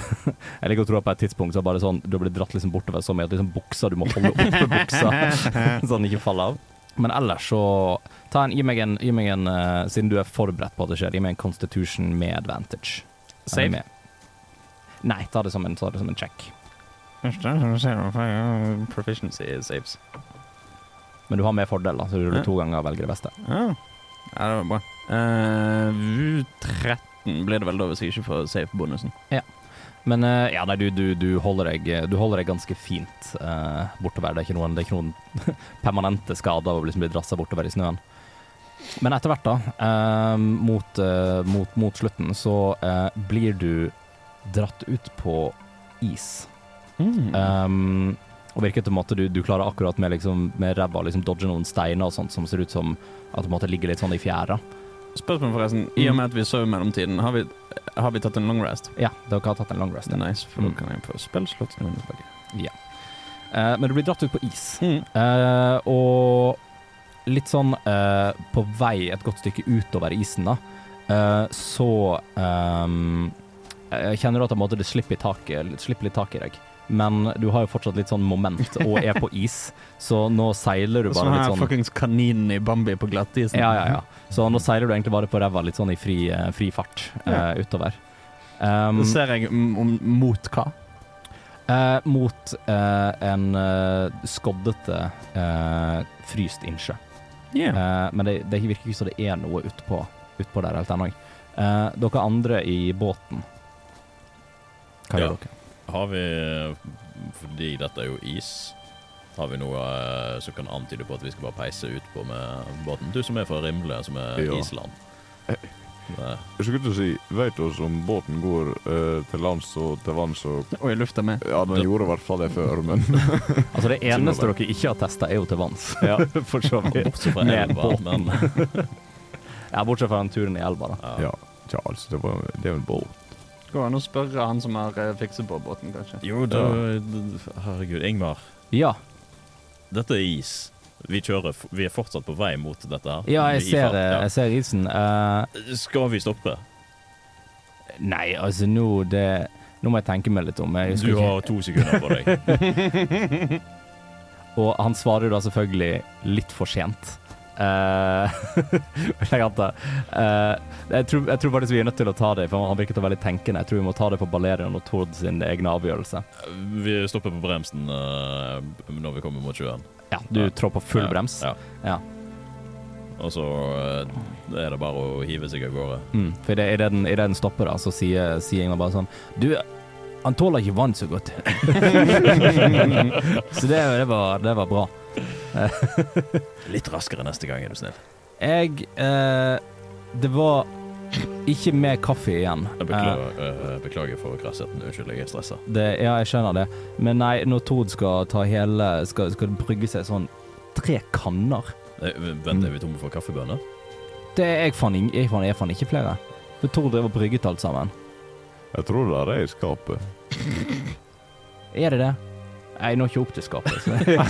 A: jeg liker å tro at på et tidspunkt så er det bare sånn du blir dratt liksom bortover så mye at liksom buksa, du må holde oppe buksa så den ikke faller av. Men ellers så ta en, Gi meg en, gi meg en eh, siden du er forberedt på at det skjer, gi meg en constitution med advantage.
E: Save?
A: Eller med- Nei, ta det som en, ta det som en check.
E: Proficiency saves.
A: Men du har med fordel, da, så du
E: Ja.
A: ruller to ganger og velger det beste.
E: Ja, ja det var bra. Eh, 13 blir det vel da hvis jeg ikke får safe-bonusen.
A: Men eh, ja, nei, du, du, du, holder deg, du holder deg ganske fint eh, bortover. Det er ikke noen, det er ikke noen permanente skader av å liksom bli drassa bortover i snøen. Men etter hvert, da, eh, mot, eh, mot, mot slutten, så eh, blir du dratt ut på is.
E: Mm. Eh,
A: Um, og virker til en måte du, du klarer akkurat med, liksom, med ræva å liksom, dodge noen steiner og sånt som ser ut som at det måte, ligger litt sånn i fjæra.
E: Spørsmål forresten.
A: Hmm.
E: I og med at vi sov i mellomtiden, har vi, har vi tatt en long rest?
A: Ja, dere har tatt en long rest.
E: Det er
A: ja.
E: nice, for
A: Mm.
E: da kan jeg få spillslått noen tilbake.
A: Eh, men du blir dratt ut på is.
E: Mm.
A: Eh, og litt sånn eh, på vei et godt stykke utover isen, da, eh, så ehm, eh, kjenner du at på en måte det slipper, i taket, det slipper litt tak i deg. Men du har jo fortsatt litt sånn moment og er på is, så nå seiler du
E: Som
A: bare
E: her
A: litt sånn
E: fuckings kaninen i Bambi på glattisen.
A: ja, ja, ja. Så nå seiler du egentlig bare på ræva litt sånn i fri, eh, fri fart eh, utover. Um,
E: Da Mm. ser jeg m om, mot hva?
A: eh, mot eh, en eh, skoddete, eh, fryst innsjø.
E: Yeah.
A: Eh, men det, det virker ikke som det er noe utpå, utpå der helt ennå. Eh, dere andre i båten Hva
C: Ja.
A: gjør dere?
C: Har vi eh, Fordi dette er jo is, har vi noe eh, som kan antyde på at vi skal bare peise utpå med båten? Du som er fra Rimle, som er
D: Ja.
C: Island. Eh, Det,
D: Jeg skulle til å si, vet du om båten går eh, til lands og til vanns og
E: Og i lufta med.
D: Ja, den gjorde i hvert fall det før, men
A: Altså Det eneste dere ikke har testa, er jo til vanns. For så vidt.
C: bortsett fra
A: Med
C: elva, men
A: Ja, bortsett fra den turen i elva, da.
D: Ja, tja, altså, det, var, det er jo en båt.
E: Går an å spørre han som har eh, fikset på båten, kanskje.
C: Jo, du eh, Herregud, Ingmar.
A: Ja,
C: Dette er is. Vi kjører f- Vi er fortsatt på vei mot dette her.
A: ja jeg,
C: Vi er i
A: ser,
C: fart, ja.
A: jeg ser isen. Eh,
C: Skal vi stoppe?
A: nei, altså nå det Nå må jeg tenke meg litt om. Jeg husker
C: Du
A: ikke.
C: har to sekunder på deg.
A: Og han svarer jo da selvfølgelig litt for sent. Eh, vil jeg anta. Eh, jeg, tror, jeg tror faktisk vi er nødt til å ta det, for han virket å være litt tenkende. Jeg tror vi må ta det på Balerion og Tord sin egen avgjørelse.
C: Vi stopper på bremsen eh, når vi kommer mot sjøen.
A: Ja, Du
C: Ja.
A: trår på full brems.
C: Ja.
A: Ja.
C: Og så eh, er det bare å hive seg av gårde.
A: Mm. For idet det, i det den, i det den stopper, da, så sier, sier Ingmar bare sånn Du, han tåler ikke vann så godt. så det, det, var, det var bra.
C: Litt raskere neste gang, er du snill.
A: Jeg eh, Det var ikke mer kaffe igjen.
C: Jeg beklager, eh, beklager for krassheten. Unnskyld, jeg er stressa.
A: Det, ja, jeg skjønner det. Men nei, når Tord skal ta hele Skal, skal brygge seg sånn tre kanner
C: Eh, Vent, er vi tomme for kaffebønner?
A: Det er jeg faen, ing- jeg faen, jeg faen ikke flere. For Tord drev og brygget alt sammen.
D: Jeg tror det er i skapet.
A: Er det det? Jeg når ikke opp til skapet. Så, så jeg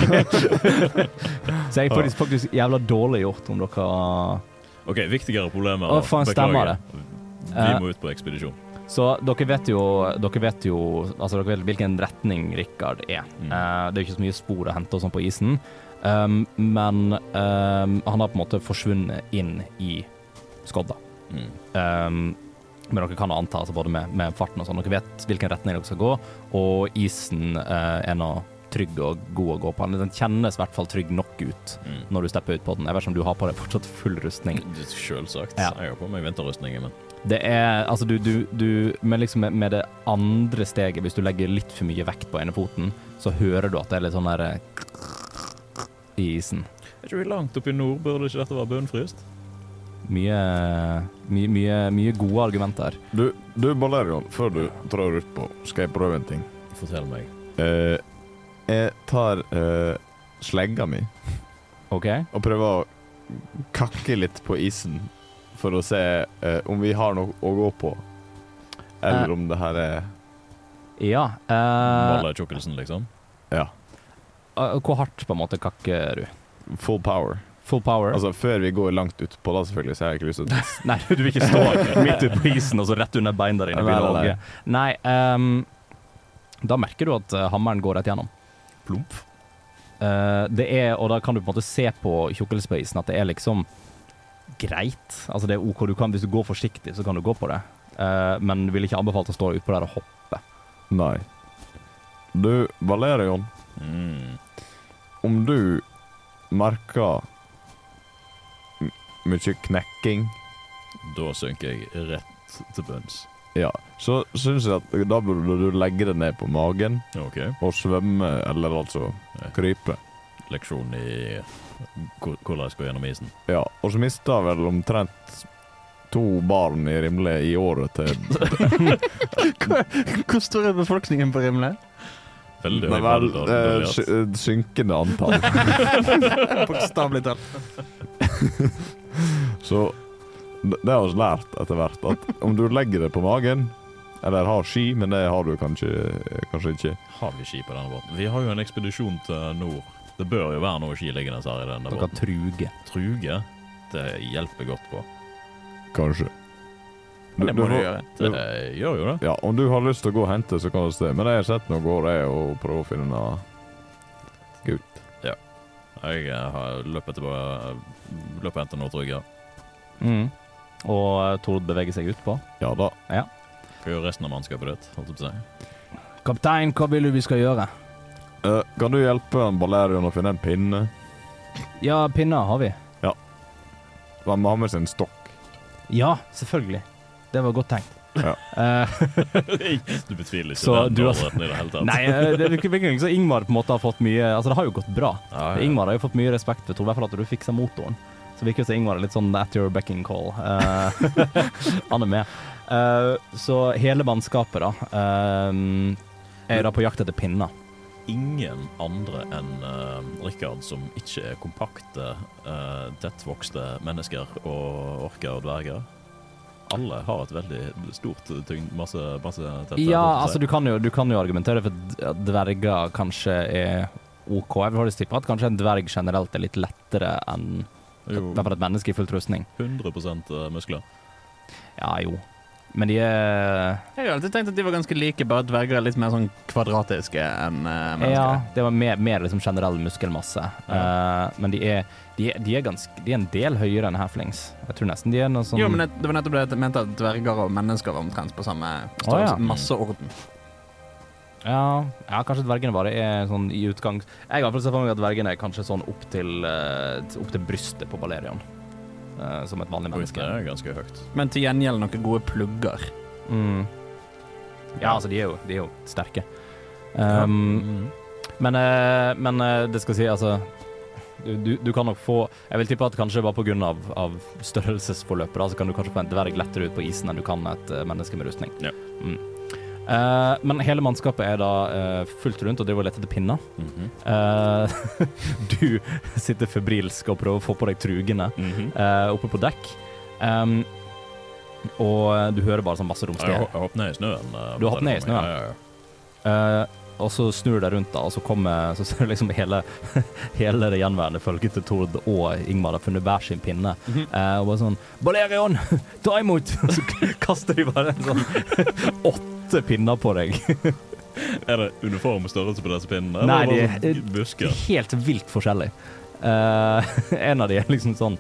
A: er faktisk, faktisk jævla dårlig gjort om dere
C: OK, viktigere problemer.
A: Å, faen, stemmer det.
C: Vi
A: Eh,
C: må ut på ekspedisjon.
A: Så dere vet jo, dere vet jo altså dere vet hvilken retning Rikard er.
C: Mm.
A: Eh, det er ikke så mye spor å hente og sånn på isen, um, men um, han har på en måte forsvunnet inn i skodda.
C: Mm.
A: Um, men dere kan anta, altså både med, med farten og sånn, dere vet hvilken retning dere skal gå, og isen eh, er nå trygg og god å gå på. Den kjennes i hvert fall trygg nok ut
C: Mm.
A: når du stepper ut på den. Jeg vet ikke om du har på deg fortsatt full rustning.
C: Selvsagt.
A: Ja.
C: Jeg har på meg vinterrustninger, men
A: Det er Altså, du, du, du Men liksom med, med det andre steget, hvis du legger litt for mye vekt på ene foten, så hører du at det er litt sånn der eh, i isen.
C: Er ikke vi langt oppe i nord? Burde ikke dette være bunnfryst?
A: Mye, mye, mye, mye gode argumenter.
D: Du, du Balerion, før du trår utpå, skal jeg prøve en ting.
C: Fortell meg.
D: Eh, jeg tar eh, slegga mi
A: OK?
D: og prøver å kakke litt på isen for å se eh, om vi har noe å gå på. Eller
A: Eh.
D: om det her er
A: Ja. eh,
C: Maler tjukkelsen, liksom?
D: ja,
A: eh, hvor hardt på en måte kakker du?
D: full power.
A: Full power?
D: Altså Før vi går langt utpå, da selvfølgelig, så har jeg ikke lyst til å
A: nei, du vil ikke stå midt ute på isen og så rett under beina dine.
D: Nei,
A: begynne å
D: nei, nei.
A: åge. Nei, ehm, da merker du at eh, hammeren går rett gjennom. Plump. det er, og da kan du på en måte se på tjukkelspøysen at det er liksom greit. Altså det er OK, du kan, hvis du går forsiktig, så kan du gå på det. Eh, men du vil ikke anbefalt å stå utpå der og hoppe.
D: Nei. Du Valerion,
C: Mm.
D: om du merker m- mye knekking
C: Da synker jeg rett til bunns.
D: Ja, så syns jeg at da burde du legge deg ned på magen
C: OK.
D: og svømme, eller altså krype.
C: Leksjon i ko- hvordan jeg skal gjennom isen.
D: Ja, og så mista jeg vel omtrent to barn i Rimle i året til
E: Hvor stor er befolkningen på Rimle?
C: Veldig
D: Nei
C: høy
D: vel,
C: bredde,
D: eh,
C: bredde,
D: sy- eh, synkende antall.
E: Bokstavelig talt.
D: Så d- det har vi lært etter hvert, at om du legger deg på magen eller har ski, men det har du kanskje, eh, kanskje ikke.
C: Har vi ski på denne båten? Vi har jo en ekspedisjon til nord. Det bør jo være noe ski liggende her i denne
A: Dere
C: båten.
A: truger.
C: Truge, det hjelper godt på.
D: Kanskje.
E: Men Det må du
D: får-
E: gjøre.
C: Det gjør jo det.
D: Ja, om du har lyst til å gå og hente, så kan du det. Men jeg har sett noen går, jeg, og prøver å finne noe
C: Jeg eh, har løpet tilbake eh, Løpet og hentet noe trygge.
A: Mm. Og eh, Tord beveger seg utpå.
D: Ja da.
C: Hva gjør resten av mannskapet ditt? Holdt jeg på å si.
A: Kaptein, hva vil du vi skal gjøre?
D: Eh, kan du hjelpe en Balerion å finne en pinne?
A: Ja, pinner har vi.
D: Han må ha med seg en stokk.
A: Ja, selvfølgelig. Det var godt tenkt.
D: Ja.
A: Eh,
C: Du betviler ikke
A: Så
C: den
A: du har-
C: målretten i det hele tatt?
A: nei, eh, det virker virker ikke som Ingmar på en måte har fått mye Altså, det har jo gått bra.
C: Ja, ja.
A: Ingmar har jo fått mye respekt for Tor, i hvert fall at du fiksa motoren. Så virker det som Ingmar er litt sånn at your backing call. Eh, han er med. Eh, så hele mannskapet, da, eh, er da på jakt etter pinner.
C: ingen andre enn eh, Rikard som ikke er kompakte, eh, tettvokste mennesker og orker og dverger. Alle har et veldig stort tyngd, masse, masse tette
A: Ja,
C: holdt
A: altså,
C: jeg på å si.
A: du kan jo, du kan jo argumentere for at dverger kanskje er OK. Jeg vil faktisk tippe at kanskje en dverg generelt er litt lettere enn i hvert fall et menneske i full rustning.
C: Jo, 100 eh, muskler.
A: Ja, jo. Men de er
E: Jeg har alltid tenkt at de var ganske like, bare at dverger er litt mer sånn kvadratiske enn eh,
A: Ja,
E: mennesker.
A: det var mer, mer liksom generell muskelmasse. Eh, men de er, de, er, de, er ganske, de er en del høyere enn Halflings. Jeg tror nesten de er noe sånn
E: Jo, men det, det var nettopp det jeg mente, at dverger og mennesker var omtrent på samme størrelse.
A: Å, ja.
E: Masseorden.
A: ja, ja, kanskje dvergene bare er sånn i utgangs... Jeg har i hvert fall sett for meg at dvergene er kanskje sånn opp til, eh, opp til brystet på Balerion. eh, som et vanlig
C: Oi, Det
A: menneske.
C: er ganske høyt.
E: Men til gjengjeld noen gode plugger.
A: Mm. Ja, altså, de er jo, de er jo sterke. Um,
C: Mm.
A: Men, eh, men eh, det skal si, altså du, du, du kan nok få Jeg vil tippe at kanskje bare pga. Av, av størrelsesforløpet, da, så kan du kanskje få en dverg lettere ut på isen enn du kan et eh, menneske med rustning.
C: Ja.
A: Mm. Eh, men hele mannskapet er da eh, fullt rundt og driver og leter etter pinner.
C: Mhm.
A: Eh, du sitter febrilsk og prøver å få på deg trugene
C: Mhm.
A: eh, oppe på dekk. Ehm, og du hører bare sånn masse
C: Jeg,
A: romstere.
C: har- jeg har hoppet ned i snøen. eh,
A: Du har hoppet ned i
C: forteller meg.
A: snøen?
C: Ja, ja, ja.
A: Eh, og så snur du deg rundt, da, og så, kommer, så ser du liksom hele, hele det gjenværende følget til Tord og Ingmar har funnet hver sin pinne. Eh, og bare sånn 'Balerion, ta imot!' Og så kaster de bare en sånn åtte pinner på deg.
C: Er det uniform størrelse på disse pinnene?
A: Nei,
C: eller
A: de-
C: er det bare sånn busker?
A: Helt vilt forskjellig. Eh, en av de er liksom sånn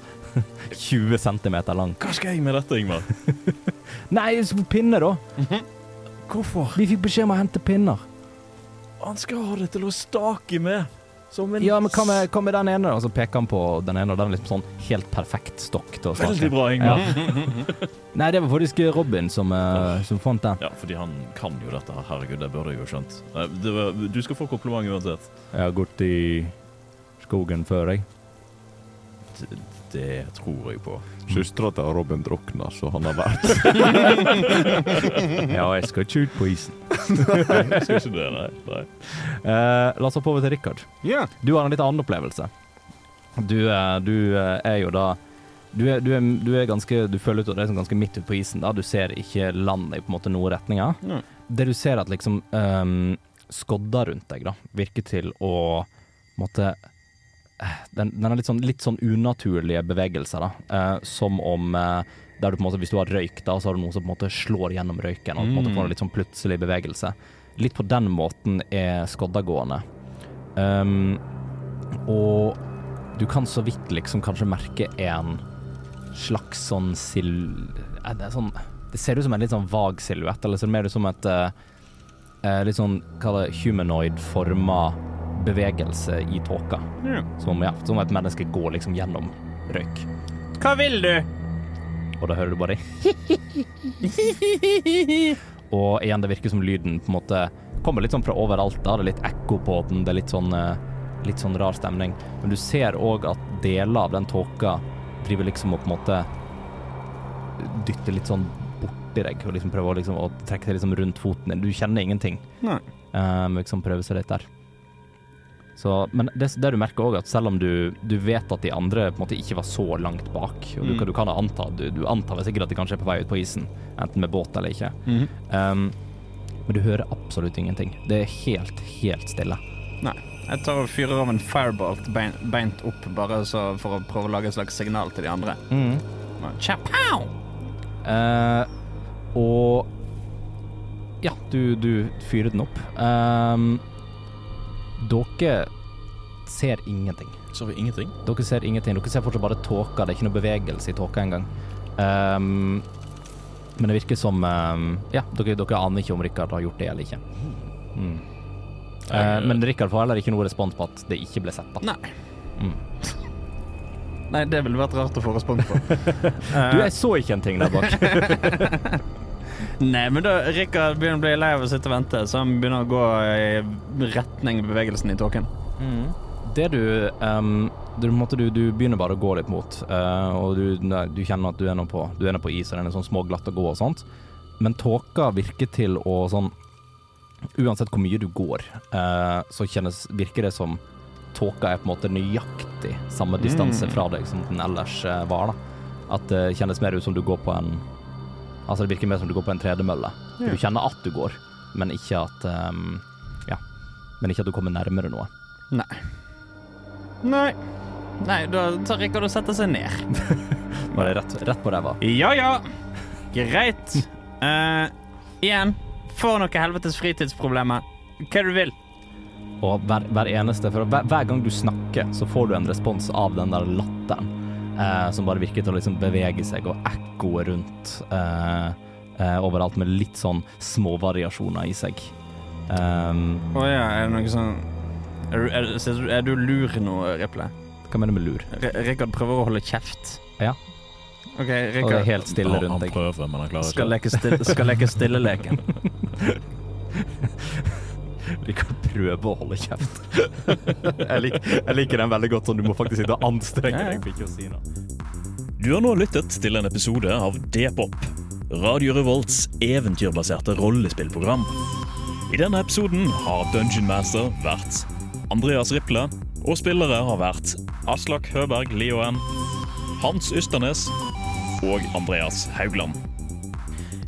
A: 20 cm lang.
C: Hva skal jeg med dette, Ingmar?
A: Nei, så pinne, da!
C: Hvorfor?
A: Vi fikk beskjed om å hente pinner.
C: Han skal ha det til å stake med. Som en
A: Ja, men hva med, hva med den ene, da? Og så peker han på den ene, og den er liksom sånn helt perfekt stokk til å starte.
C: Veldig bra, Ingmar. Ja.
A: Nei, det var faktisk Robin som, eh, som fant den.
C: fordi han kan jo dette her. Herregud, det burde jeg jo skjønt. Eh, Det var, du skal få kompliment uansett.
A: Jeg har gått i skogen før, jeg.
C: Det, det tror jeg på.
D: Søstera til Robin drukna, så han har vært
A: Ja, jeg skal ikke ut på isen.
C: Jeg skal ikke det, nei. nei.
A: Eh, la oss hoppe over til Richard.
B: Ja.
A: Du har en litt annen opplevelse. Du, eh, du eh, er jo da du er, du, er, du er ganske Du føler ut at du er sånn ganske midt ute på isen. da Du ser ikke land i på en måte noen retninger.
E: Nei.
A: Det du ser er at liksom um, skodda rundt deg da virker til å på en måte eh, Den, den er litt sånn, litt sånn unaturlige bevegelser, da. Eh, som om eh, der du på en måte, Hvis du har røyk, da, så har du noe som på en måte slår gjennom røyken og på en måte får en litt sånn plutselig bevegelse. Litt på den måten er skodda gående. Um, og du kan så vidt liksom kanskje merke en slags sånn sil... eh, Det, er sånn, det ser ut som en litt sånn vag silhuett, eller så er det mer ut som et eh, eh, litt sånn kall det humanoid-forma bevegelse i tåka.
E: Ja.
A: Som, ja, som et menneske går liksom gjennom røyk.
E: Hva vil du?
A: Og da hører du bare Og igjen, det virker som lyden på en måte kommer litt sånn fra overalt. da, Det er litt ekko på den, det er litt sånn, eh, litt sånn rar stemning. Men du ser òg at deler av den tåka driver liksom og på en måte dytter litt sånn borti deg og liksom prøver å, liksom, å trekke seg liksom rundt foten din. Du kjenner ingenting.
E: Nei.
A: Eh, men liksom prøve seg litt der. Så, men det, det du merker òg, at selv om du, du vet at de andre på en måte ikke var så langt bak og Du, kan- du kan ha antatt du, du antar vel sikkert at de kanskje er på vei ut på isen, enten med båt eller ikke. Um, men du hører absolutt ingenting. Det er helt, helt stille.
E: Nei. Jeg tar og fyrer av en firebolt bein, beint opp, bare så for å prøve å lage et slags signal til de andre. Chapow!
A: Eh, og ja, du, du fyrer den opp. Um, dere ser ingenting.
C: Så har vi ingenting.
A: Dere ser ingenting. Dere ser fortsatt bare tåka. Det er ikke noe bevegelse i tåka engang. Um, men det virker som um, Ja, dere, dere aner ikke om Rikard har gjort det eller ikke. Mm. Eh, men Rikard får heller ikke noe respons på at det ikke ble sett. da.
E: Nei. Nei, det ville vært rart å få respons på.
A: Du, jeg så ikke en ting der bak.
E: Nei, men da Rikard begynner å bli lei av å sitte og vente, så han begynner å gå i retning bevegelsen i tåken.
A: Mm. Det du, ehm, du, på en måte, du Du begynner bare å gå litt mot, eh, og du, nei, du kjenner at du er nå på, du er nå på is, og den er sånn småglatt å gå og sånt. Men tåka virker til å sånn Uansett hvor mye du går, eh, så kjennes, virker det som tåka er på en måte nøyaktig samme distanse fra deg som den ellers eh, var. da. At det kjennes mer ut som du går på en Altså det virker mer som du går på en tredemølle. Du kjenner at du går, men ikke at ehm, Ja. Men ikke at du kommer nærmere noe.
E: Nei. Nei. Nei, da tar Rikard og setter seg ned.
A: Var det rett, rett på ræva?
E: Ja, ja. Greit. Eh, igjen, få noe helvetes fritidsproblemer. Hva du vil.
A: Og hver, hver eneste for hver, hver gang du snakker, så får du en respons av den der latteren eh, som bare virker til å liksom bevege seg og ekkoe rundt eh, eh, overalt med litt sånn småvariasjoner i seg. Ehm,
E: Å ja, er det noe sånn Er, du- er, du- ser du- er du lur nå, Riple?
A: hva mener du med lur?
E: R- Rikard prøver å holde kjeft.
A: Ja.
E: OK,
A: Og det er
E: Rikard
A: helt stille
C: han,
A: rundt
C: han
A: deg.
C: prøver, men han klarer
E: skal
C: ikke.
E: leke, stille, skal leke stilleleken.
A: Vi kan prøve å holde kjeft. jeg, lik, jeg liker den veldig godt, sånn du må faktisk sitte og anstrenge
E: Ja, ja.
A: deg for ikke å si noe.
H: Du har nå lyttet til en episode av D-pop, Radio Revolts eventyrbaserte rollespillprogram. I denne episoden har Dungeon Master vært Andreas Riple, og spillere har vært Aslak Høberg Lioen, Hans Ysternes,
C: og Andreas Haugland.